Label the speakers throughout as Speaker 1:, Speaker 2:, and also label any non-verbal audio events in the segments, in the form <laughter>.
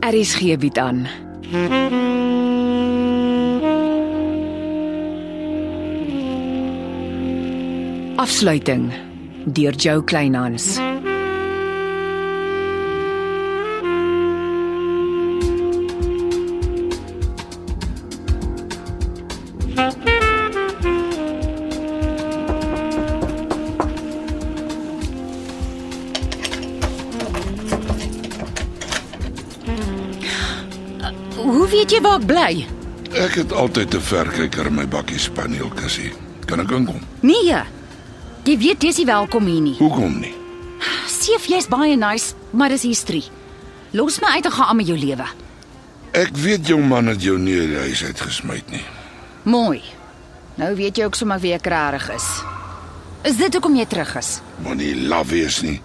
Speaker 1: RSG bied aan. Afsluiting deur Jo Kleinhans.
Speaker 2: Hoe weet jy waar ek bly?
Speaker 3: Ek het altyd 'n verkyker in my bakkie spanielkussie. Kan ek inkom?
Speaker 2: Nee. Jy weet dis nie welkom hier nie.
Speaker 3: Hoekom nie?
Speaker 2: Seef, jy's baie nice, maar dis history. Los my uit en gaan aan met jou lewe.
Speaker 3: Ek weet jou man het jou nie uit die huis uitgesmy nie.
Speaker 2: Mooi. Nou weet jy ook sommer wie ek regtig is. Is dit hoekom jy terug is?
Speaker 3: Moenie laf wees nie.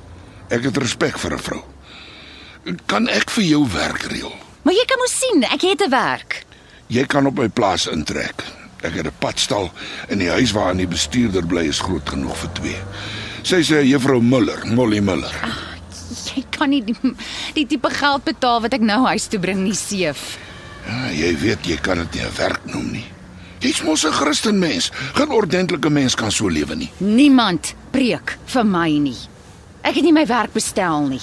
Speaker 3: Ek het respek vir 'n vrou. Kan ek vir jou werk reël?
Speaker 2: Maar jy kan mos sien, ek het 'n werk.
Speaker 3: Jy kan op my plaas intrek. Ek het 'n padstal en die huis waarin die bestuurder bly is groot genoeg vir twee. Sy sê juffrou Muller, Molly Muller.
Speaker 2: Jy kan nie die, die tipe geld betaal wat ek nou huis toe bring nie, Seef.
Speaker 3: Ja, jy weet jy kan dit nie 'n werk noem nie. Jy's mos 'n Christenmens. Geen ordentlike mens kan so lewe nie.
Speaker 2: Niemand preek vir my nie. Ek het nie my werk bestel nie.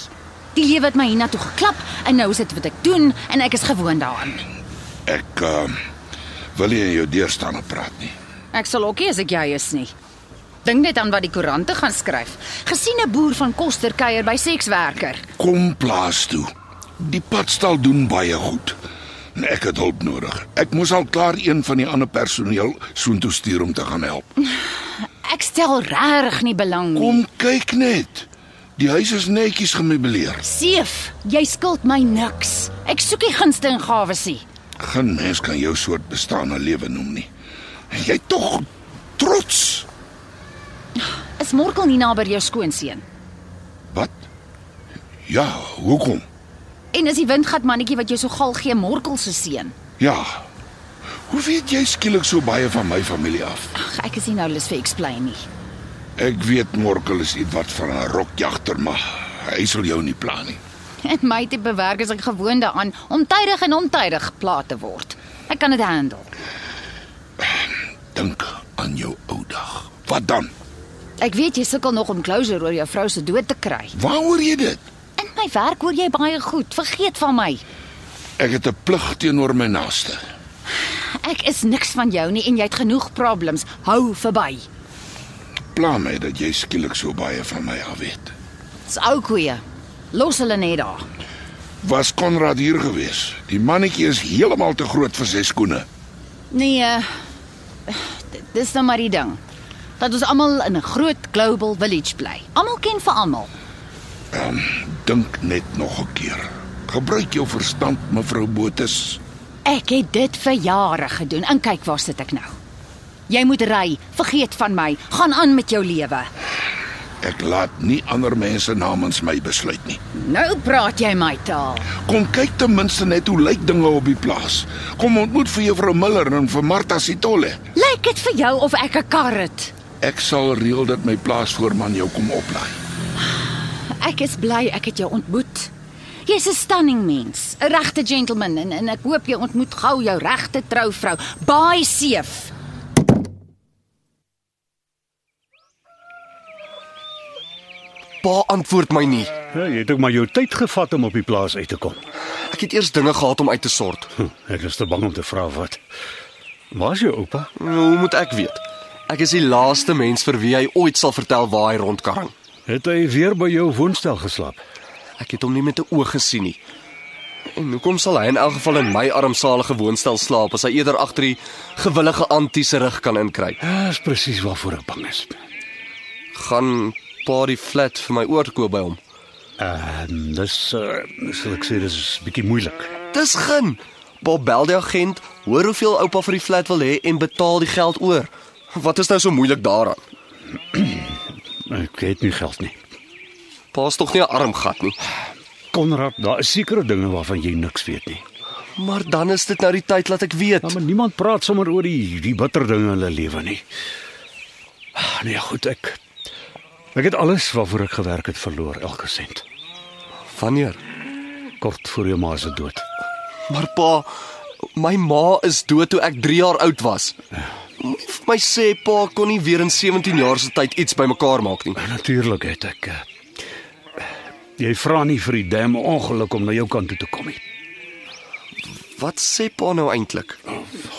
Speaker 2: Die lewe het my hiernatoe geklap en nou is dit wat ek doen en ek is gewoond daaraan.
Speaker 3: Ek uh, wil nie in jou deurstaande praat nie.
Speaker 2: Ek sal ook nie as ek jy is nie. Dink net aan wat die koerante gaan skryf. Gesien 'n boer van Koster kuier by sekswerker.
Speaker 3: Kom plaas toe. Die padstal doen baie goed. En ek het hulp nodig. Ek moes al klaar een van die ander personeel soontoe stuur om te gaan help.
Speaker 2: Ek stel regtig nie belang nie.
Speaker 3: Kom kyk net. Die huis is netjies gemeubileer.
Speaker 2: Seef, jy skuld my niks. Ek soek nie gunste en gawes nie.
Speaker 3: Geen mens kan jou soort bestaan 'n lewe noem nie. En Jy tog trots.
Speaker 2: Is Morkel nie naby jou skoonseun?
Speaker 3: Wat? Ja, hoekom?
Speaker 2: En is die windgat mannetjie wat jou so gal gee Morkel se seun?
Speaker 3: Ja. Hoe weet jy skielik so baie van my familie af?
Speaker 2: Ag, ek is nie nou lus vir explain nie. <laughs>
Speaker 3: Ek weet Morkel is ietwat van 'n rokjagter, maar hy sal jou nie pla nie.
Speaker 2: En my tipe werk is ek gewoond daaraan om tydig en ontydig geplaat te word. Ek kan dit handle.
Speaker 3: Dink aan jou ou dag. Wat dan?
Speaker 2: Ek weet jy sukkel nog om closure oor jou vrou se dood te kry.
Speaker 3: Waaroor jy dit?
Speaker 2: In my werk hoor jy baie goed. Vergeet van my.
Speaker 3: Ek het 'n plig teenoor my naaste.
Speaker 2: Ek is niks van jou nie en jy het genoeg problems. Hou verby.
Speaker 3: Pla my dat jy skielik so baie van my af weet.
Speaker 2: Dis ou koeie. Los hulle net daar.
Speaker 3: Was Konrad hier gewees? Die mannetjie is heeltemal te groot vir sy skoene.
Speaker 2: Nee. eh, d- Dis nou maar die ding. Dat ons almal in 'n groot global village bly. Almal ken vir almal.
Speaker 3: Dink net nog 'n keer. Gebruik jou verstand, mevrou Botus.
Speaker 2: Ek het dit vir jare gedoen. En kyk waar sit ek nou. Jy moet ry. Vergeet van my. Gaan aan met jou lewe.
Speaker 3: Ek laat nie ander mense namens my besluit nie.
Speaker 2: Nou praat jy my taal.
Speaker 3: Kom kyk ten minste net hoe lyk dinge op die plaas. Kom ontmoet vir juffrou Miller en vir Martha Sitolle.
Speaker 2: Lyk dit vir jou of ek 'n kar het?
Speaker 3: Ek sal reël dat my plaasvoorman jou kom oplaai.
Speaker 2: Ek is bly ek het jou ontmoet. Jy's 'n stunning mens, 'n regte gentleman en, en ek hoop jy ontmoet gou jou regte trouvrou. Baie seef.
Speaker 4: Pa antwoord my nie.
Speaker 5: Ja, jy het ook maar jou tyd gevat om op die plaas uit te kom.
Speaker 4: Ek het eers dinge gehad om uit te sort.
Speaker 5: Hm, ek is te bang om te vra wat. Waar's jou oupa?
Speaker 4: Hoe Nou moet ek weet? Ek is die laaste mens vir wie hy ooit sal vertel waar hy rondkarring.
Speaker 5: Het hy weer by jou woonstel geslaap?
Speaker 4: Ek het hom nie met 'n oog gesien nie. En hoekom sal hy in elk geval in my armsalige woonstel slaap as hy eerder agter die gewillige antie se rug kan inkry?
Speaker 5: Ja, Dis presies waarvoor ek bang is.
Speaker 4: Gaan pa die flat vir my oorkoop by hom.
Speaker 5: Ehm, dis uh, sal ek sê dis is bietjie moeilik.
Speaker 4: Dis gin. Bob bel die agent, hoor hoeveel oupa vir die flat wil hê en betaal die geld oor. Wat is nou so moeilik daaraan?
Speaker 5: Ek het nie geld nie.
Speaker 4: Pa's tog nie 'n arm gat nie.
Speaker 5: Konrad, daar is sekere dinge waarvan jy niks weet nie.
Speaker 4: Maar dan is dit nou die tyd dat ek weet.
Speaker 5: Ja, maar niemand praat sommer oor die die bitter dinge in hulle lewe nie. Nee, goed, ek ek het alles waarvoor ek gewerk het verloor, elke sent.
Speaker 4: Wanneer?
Speaker 5: Kort voor jou ma se dood.
Speaker 4: Maar pa, my ma is dood toe ek 3 jaar oud was. Moenie vir My sê pa kon nie weer in 17 jaar se tyd iets bymekaar maak nie.
Speaker 5: Natuurlik het ek. eh, Jy vra nie vir die dam ongeluk om na jou kant toe te kom nie.
Speaker 4: Wat sê pa nou eintlik?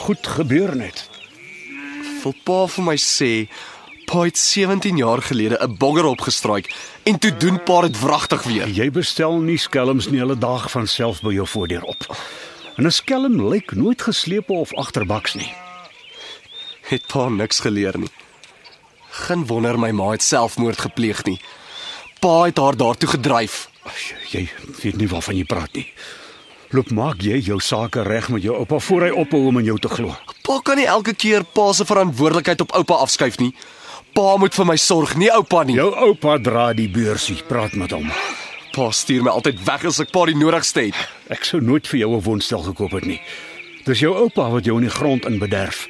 Speaker 5: Goed gebeur net.
Speaker 4: Wil pa vir my sê pa het 17 jaar gelede 'n bogger opgestraai en toe doen pa dit wragtig weer.
Speaker 5: Jy bestel nie skelms nie, hulle daag van self by jou voordeur op. En 'n skelm lyk nooit geslepe of agterbaks nie.
Speaker 4: Het pa niks geleer nie. Geen wonder my ma het selfmoord gepleeg nie. Pa het haar daartoe gedryf.
Speaker 5: Ag, Jy weet nie waarvan jy praat nie. Loop maak jy jou sake reg met jou oupa voor hy ophou om aan jou te glo.
Speaker 4: Pa kan nie elke keer pa se verantwoordelikheid op oupa afskuif nie. Pa moet vir my sorg, nie oupa nie.
Speaker 5: Jou oupa dra die beursie, praat met hom.
Speaker 4: Pa stuur my altyd weg as ek pa die nodigste het.
Speaker 5: Ek sou nooit vir jou 'n woonstel gekoop het nie. Dis jou oupa wat jou in die grond in bederf.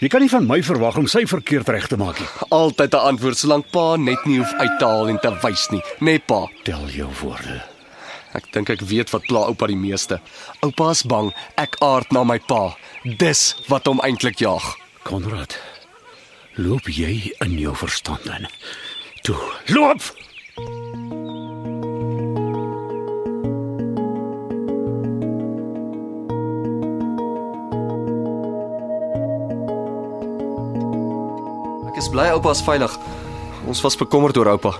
Speaker 5: Jy kan nie van my verwag om sy verkeerd reg te maak nie.
Speaker 4: Altyd 'n antwoord solank pa net nie hoef uit te haal en te wys nie, nê nee, pa.
Speaker 5: Tel jou woorde.
Speaker 4: Ek dink ek weet wat pla oupa die meeste. Oupa is bang ek aard na my pa. Dis wat hom eintlik jaag.
Speaker 5: Konrad, loop jy in jou verstand in. Toe, loop!
Speaker 4: Ek is bly oupa is veilig. Ons was bekommerd oor oupa.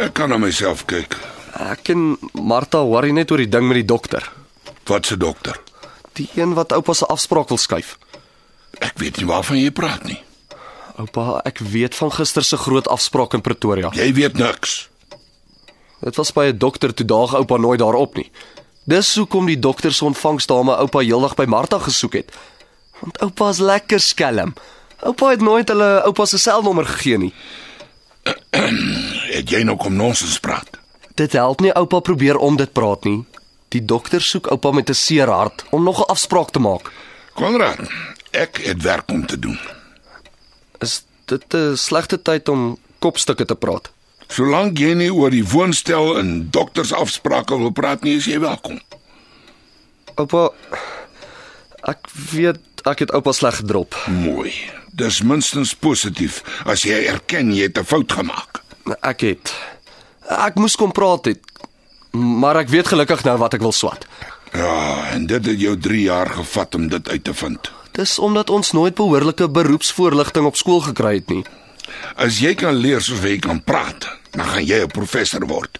Speaker 3: Ek kan na myself kyk.
Speaker 4: Ek en Martha worry net oor die ding met die dokter.
Speaker 3: Wat se dokter?
Speaker 4: Die een wat oupa se afspraak wil skuif.
Speaker 3: Ek weet nie waarvan jy praat nie.
Speaker 4: Oupa, ek weet van gister se groot afspraak in Pretoria.
Speaker 3: Jy weet niks.
Speaker 4: Dit was by 'n dokter toe daag oupa nooit daarop nie. Dis hoekom die dokter se ontvangsdame oupa heeldag by Martha gesoek het. Want oupa is lekker skelm. Oupa het nooit hulle oupa se selnommer gegee nie.
Speaker 3: Het jy nou kom nonsens praat?
Speaker 4: Dit help nie oupa probeer om dit praat nie. Die dokter soek oupa met 'n seer hart om nog 'n afspraak te maak.
Speaker 3: Konrad, ek het werk om te doen.
Speaker 4: Is dit 'n slegte tyd om kopstukke te praat?
Speaker 3: Solank jy nie oor die woonstel en doktersafsprake wil praat nie, is jy welkom.
Speaker 4: Oupa ek weet ek het oupa sleg gedrop.
Speaker 3: Mooi. Dis minstens positief as jy erken jy het 'n fout gemaak.
Speaker 4: Ek het ek moes kom praat het. Maar ek weet gelukkig nou wat ek wil swat.
Speaker 3: Ja, en dit het jou 3 jaar gevat om dit uit te vind.
Speaker 4: Dis omdat ons nooit behoorlike beroepsvoorligting op skool gekry het nie.
Speaker 3: As jy kan leer soos jy kan praat, dan gaan jy 'n professor word.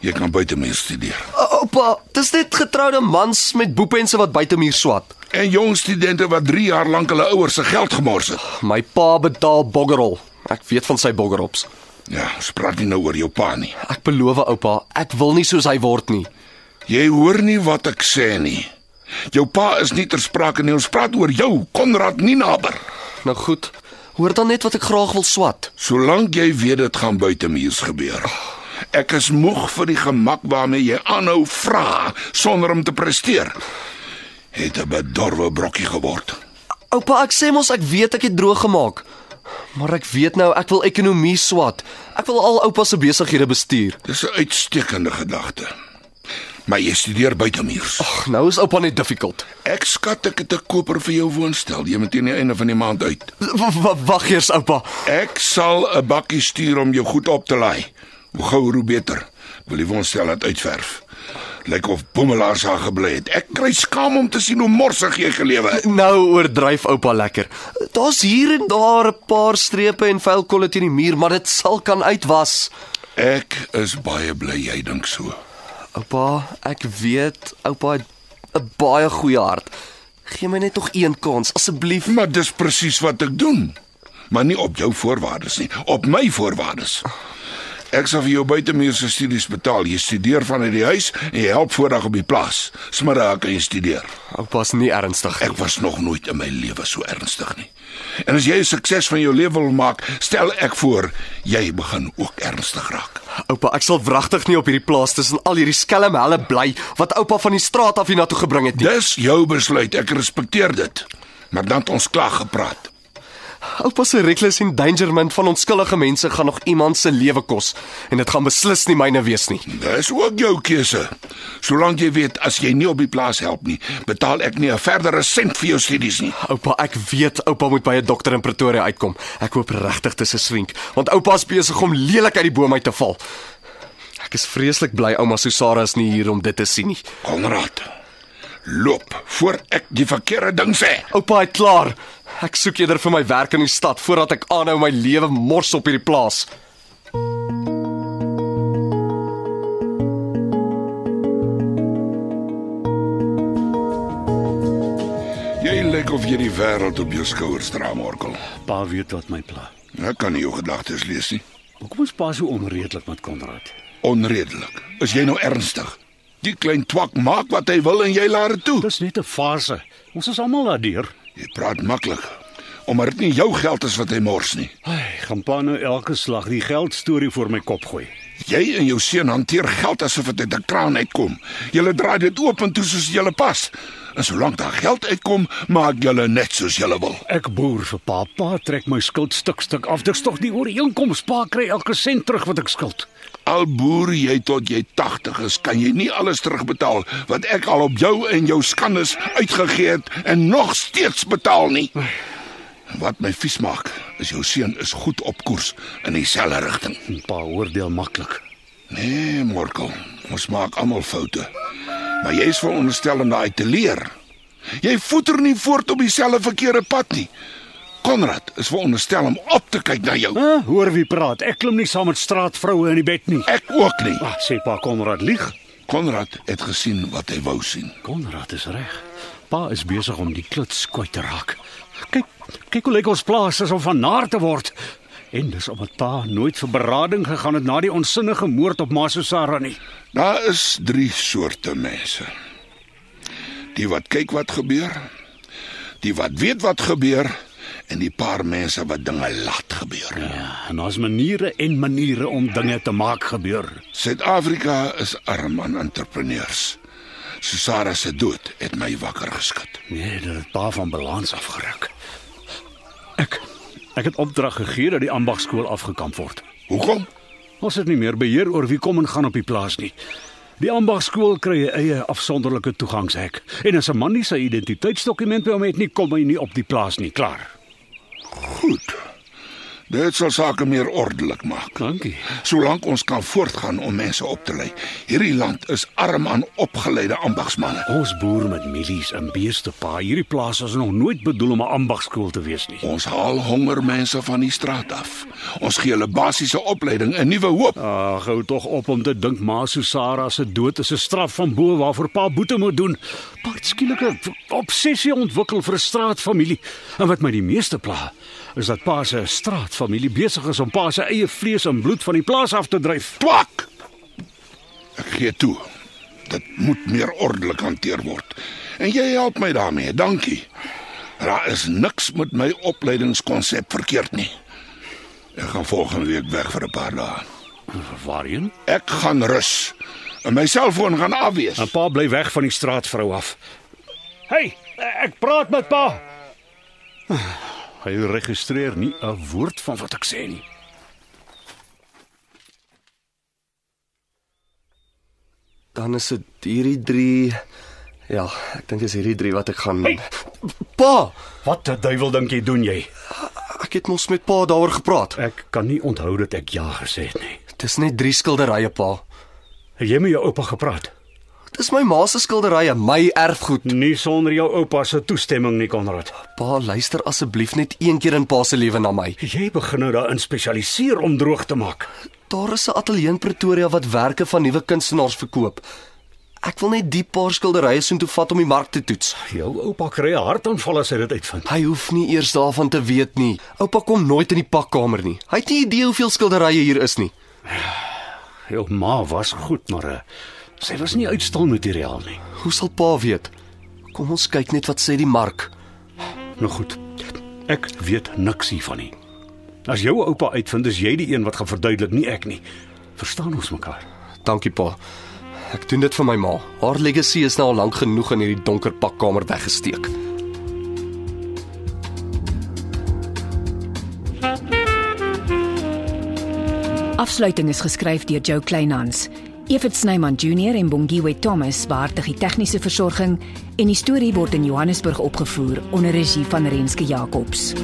Speaker 3: Jy kan buitemuur studeer.
Speaker 4: Oupa, dis net getroude mans met boepense wat buitemuur swat.
Speaker 3: En jong studente wat 3 jaar lank hulle ouers se geld gemors het.
Speaker 4: My pa betaal boggerol. Ek weet van sy boggerops.
Speaker 3: Ja, ons praat nie nou oor jou pa nie.
Speaker 4: Ek beloof oupa, ek wil nie soos hy word nie.
Speaker 3: Jy hoor nie wat ek sê nie. Jou pa is nie ter sprake nie. Ons praat oor jou, Konrad Ninaber.
Speaker 4: Nou goed, hoor dan net wat ek graag wil swat.
Speaker 3: Solank jy weet dit gaan buite muurs gebeur. Ek is moeg vir die gemak waarmee jy aanhou vra sonder om te presteer. Het 'n bedorwe brokkie geword.
Speaker 4: Oupa, ek sê mos ek weet ek het droog gemaak. Maar ek weet nou ek wil ekonomie swat. Ek wil al oupa se besighede bestuur.
Speaker 3: Dis 'n uitstekende gedagte. Maar jy studeer buite muurs.
Speaker 4: Ag, nou is oupa net difficult.
Speaker 3: Ek skat ek het 'n koper vir jou woonstel. Jy moet teen die einde van die maand uit.
Speaker 4: W- w- Wag eers oupa.
Speaker 3: Ek sal 'n bakkie stuur om jou goed op te laai. Hoe gouer hoe beter. Ek Wil die woonstel laat uitverf. Lyk of boemelaars haar gebly het. Ek kry skaam om te sien hoe morsig jy gelewe het.
Speaker 4: Nou oordryf oupa lekker. Daar's hier en daar 'n paar strepe en vuil kolle teen die muur, maar dit sal kan uitwas.
Speaker 3: Ek is baie bly jy dink so.
Speaker 4: Oupa, ek weet oupa het 'n baie goeie hart. Gee my net nog een kans asseblief.
Speaker 3: Maar dis presies wat ek doen. Maar nie op jou voorwaardes nie, op my voorwaardes. Ek sal vir jou buitemuurse studies betaal. Jy studeer vanuit die huis en jy help voordag op die plaas. Smiddag kan jy studeer.
Speaker 4: Oupa's nie ernstig
Speaker 3: Ek was nog nooit in my lewe so ernstig nie. En as jy 'n sukses van jou lewe wil maak, stel ek voor jy begin ook ernstig raak.
Speaker 4: Oupa, ek sal wragtig nie op hierdie plaas tussen al hierdie skelm helle bly wat oupa van die straat af hiernatoe gebring het nie.
Speaker 3: Dis jou besluit, ek respekteer dit. Maar dan het ons klaar gepraat.
Speaker 4: Oupa se reckless endangerment van onskuldige mense gaan nog iemand se lewe kos en dit gaan beslis nie myne wees nie.
Speaker 3: Dis ook jou keuse. Solank jy weet as jy nie op die plaas help nie, betaal ek nie 'n verdere sent vir jou studies nie.
Speaker 4: Oupa, ek weet oupa moet by 'n dokter in Pretoria uitkom. Ek hoop regtig dis 'n swink, want oupa is besig om lelik uit die boom uit te val. Ek is vreeslik bly ouma Susara is nie hier om dit te sien nie.
Speaker 3: Konrad. Loop voor ek die verkeerde ding sê.
Speaker 4: Oupa, hy't klaar. Ek soek eerder vir my werk in die stad voordat ek aanhou my lewe mors op hierdie plaas.
Speaker 3: Jy lyk of jy die wêreld op jou skouers dra, Morkel.
Speaker 5: Pa weet wat my pla.
Speaker 3: Ek kan nie jou gedagtes lees nie.
Speaker 5: Hoekom is pa so onredelik met Konrad?
Speaker 3: Onredelik. Is jy nou ernstig? Die klein twak maak wat hy wil en jy laat dit toe.
Speaker 5: Dis net 'n fase. Ons is almal daardeur.
Speaker 3: Jy praat maklik. Omdat dit nie jou geld is wat hy mors nie.
Speaker 5: Ai, gaan pa nou elke slag die geld storie voor my kop gooi.
Speaker 3: Jy en jou seun hanteer geld asof dit uit 'n kraan uitkom. Julle draai dit oop en toe soos julle pas. En solank daar geld uitkom, maak julle net soos julle wil.
Speaker 5: Ek boer vir pa. Pa trek my skuld stuk stuk af. Dis tog nie ooreenkoms. Pa kry elke sent terug wat ek skuld.
Speaker 3: Al boer jy tot jy 80 is, kan jy nie alles terugbetaal wat ek al op jou en jou skandes uitgegee het en nog steeds betaal nie. Wat my vies maak, is jou seun is goed op koers in dieselfde rigting.
Speaker 5: En pa oordeel maklik.
Speaker 3: Nee, Morkel, ons maak almal foute. Maar jy is veronderstel om daai te leer. Jy voeter nie voort op dieselfde verkeerde pad nie. Konrad is veronderstel om op te kyk na jou.
Speaker 5: Hæ, hoor wie praat. Ek klim nie saam met straatvroue in die bed nie.
Speaker 3: Ek ook nie.
Speaker 5: Ah, sê pa Konrad lieg.
Speaker 3: Konrad het gesien wat hy wou sien.
Speaker 5: Konrad is reg. Pa is besig om die kluts kwyt te raak. Kyk, kyk hoe lyk ons plaas asof van naar te word. En dis omdat pa nooit vir berading gegaan het na die onsinnige moord op Masusara nie.
Speaker 3: Daar is drie soorte mense. Die wat kyk wat gebeur, die wat weet wat gebeur en die paar mense wat dinge laat gebeur.
Speaker 5: Ja, en daar's maniere en maniere om dinge te maak gebeur.
Speaker 3: Suid-Afrika is arm aan entrepreneurs. Susara se dood het my wakker geskud.
Speaker 5: Nee, dit het pa van balans afgeruk. Ek ek het opdrag gegee dat die ambagskool afgekamp word.
Speaker 3: Hoekom?
Speaker 5: Ons het nie meer beheer oor wie kom en gaan op die plaas nie. Die ambagskool kry 'n eie afsonderlike toegangshek en as 'n man nie sy identiteitsdokument by hom het nie, kom hy nie op die plaas nie. Klaar.
Speaker 3: Goed. Dit sal sake meer ordelik maak.
Speaker 5: Dankie.
Speaker 3: Solank ons kan voortgaan om mense op te lei. Hierdie land is arm aan opgeleide ambagsmanne.
Speaker 5: Ons boer met mielies en beeste pa. Hierdie plaas was nog nooit bedoel om 'n ambagskool te wees nie.
Speaker 3: Ons haal honger mense van die straat af. Ons gee hulle basiese opleiding en nuwe hoop.
Speaker 5: Ag, hou tog op om te dink Ma Susara se dood is 'n straf van bo waarvoor pa boete moet doen. Pa het skielik 'n obsessie ontwikkel vir 'n straatfamilie. En wat my die meeste pla, is dat pa se straatfamilie besig is om pa se eie vlees en bloed van die plaas af te dryf.
Speaker 3: Twak. Ek gee toe. Dit moet meer ordelik hanteer word. En jy help my daarmee. Dankie. Daar is niks met my opleidingskonsep verkeerd nie. Ek gaan volgende week weg vir 'n paar dae.
Speaker 5: Waarheen?
Speaker 3: Ek gaan rus. En my selfoon gaan af wees.
Speaker 5: En pa bly weg van die straatvrou af. Hey, ek praat met pa. Hy registreer nie 'n woord van wat ek sê nie.
Speaker 4: Dan is dit hierdie drie Ja, ek dink dis hierdie drie wat ek gaan hey. Pa,
Speaker 5: Wat die duiwel dink jy doen jy?
Speaker 4: ek het mos met pa daaroor gepraat.
Speaker 5: Ek kan nie onthou dat ek ja gesê het nie.
Speaker 4: Dis net drie skilderye, pa.
Speaker 5: Het jy met jou oupa gepraat?
Speaker 4: Dis my ma se skilderye, my erfgoed.
Speaker 5: Nie sonder jou oupa se toestemming nie, Konrad.
Speaker 4: Pa, luister asseblief net een keer in pa se lewe na my.
Speaker 5: Jy begin nou daarin spesialiseer om droog te maak.
Speaker 4: Daar is 'n ateljee in Pretoria wat werke van nuwe kunstenaars verkoop. Ek wil net die paar skilderye soontoe vat om die mark te toets.
Speaker 5: Jou oupa kry 'n hartaanval as hy dit uitvind.
Speaker 4: Hy hoef nie eers daarvan te weet nie. Oupa kom nooit in die pakkamer nie. Hy het nie idee hoeveel skilderye hier is nie.
Speaker 5: Jou ma was goed, maar eh, sy was nie uitstalmateriaal nie.
Speaker 4: Hoe sal pa weet? Kom ons kyk net wat sê die mark.
Speaker 5: Nou goed. Ek weet niks hiervan nie. As jou oupa uitvind, is jy die een wat gaan verduidelik, nie ek nie. Verstaan ons mekaar?
Speaker 4: Dankie pa. Ek doen dit vir my ma. Haar legacy is nou al lank genoeg in hierdie donker pakkamer weggesteek.
Speaker 1: Afsluiting is geskryf deur Joe Kleinhans. Evit Snyman Junior en Bongwe Thomas beheerdig die tegniese versorging en die storie word in Johannesburg opgevoer onder regie van Renske Jacobs.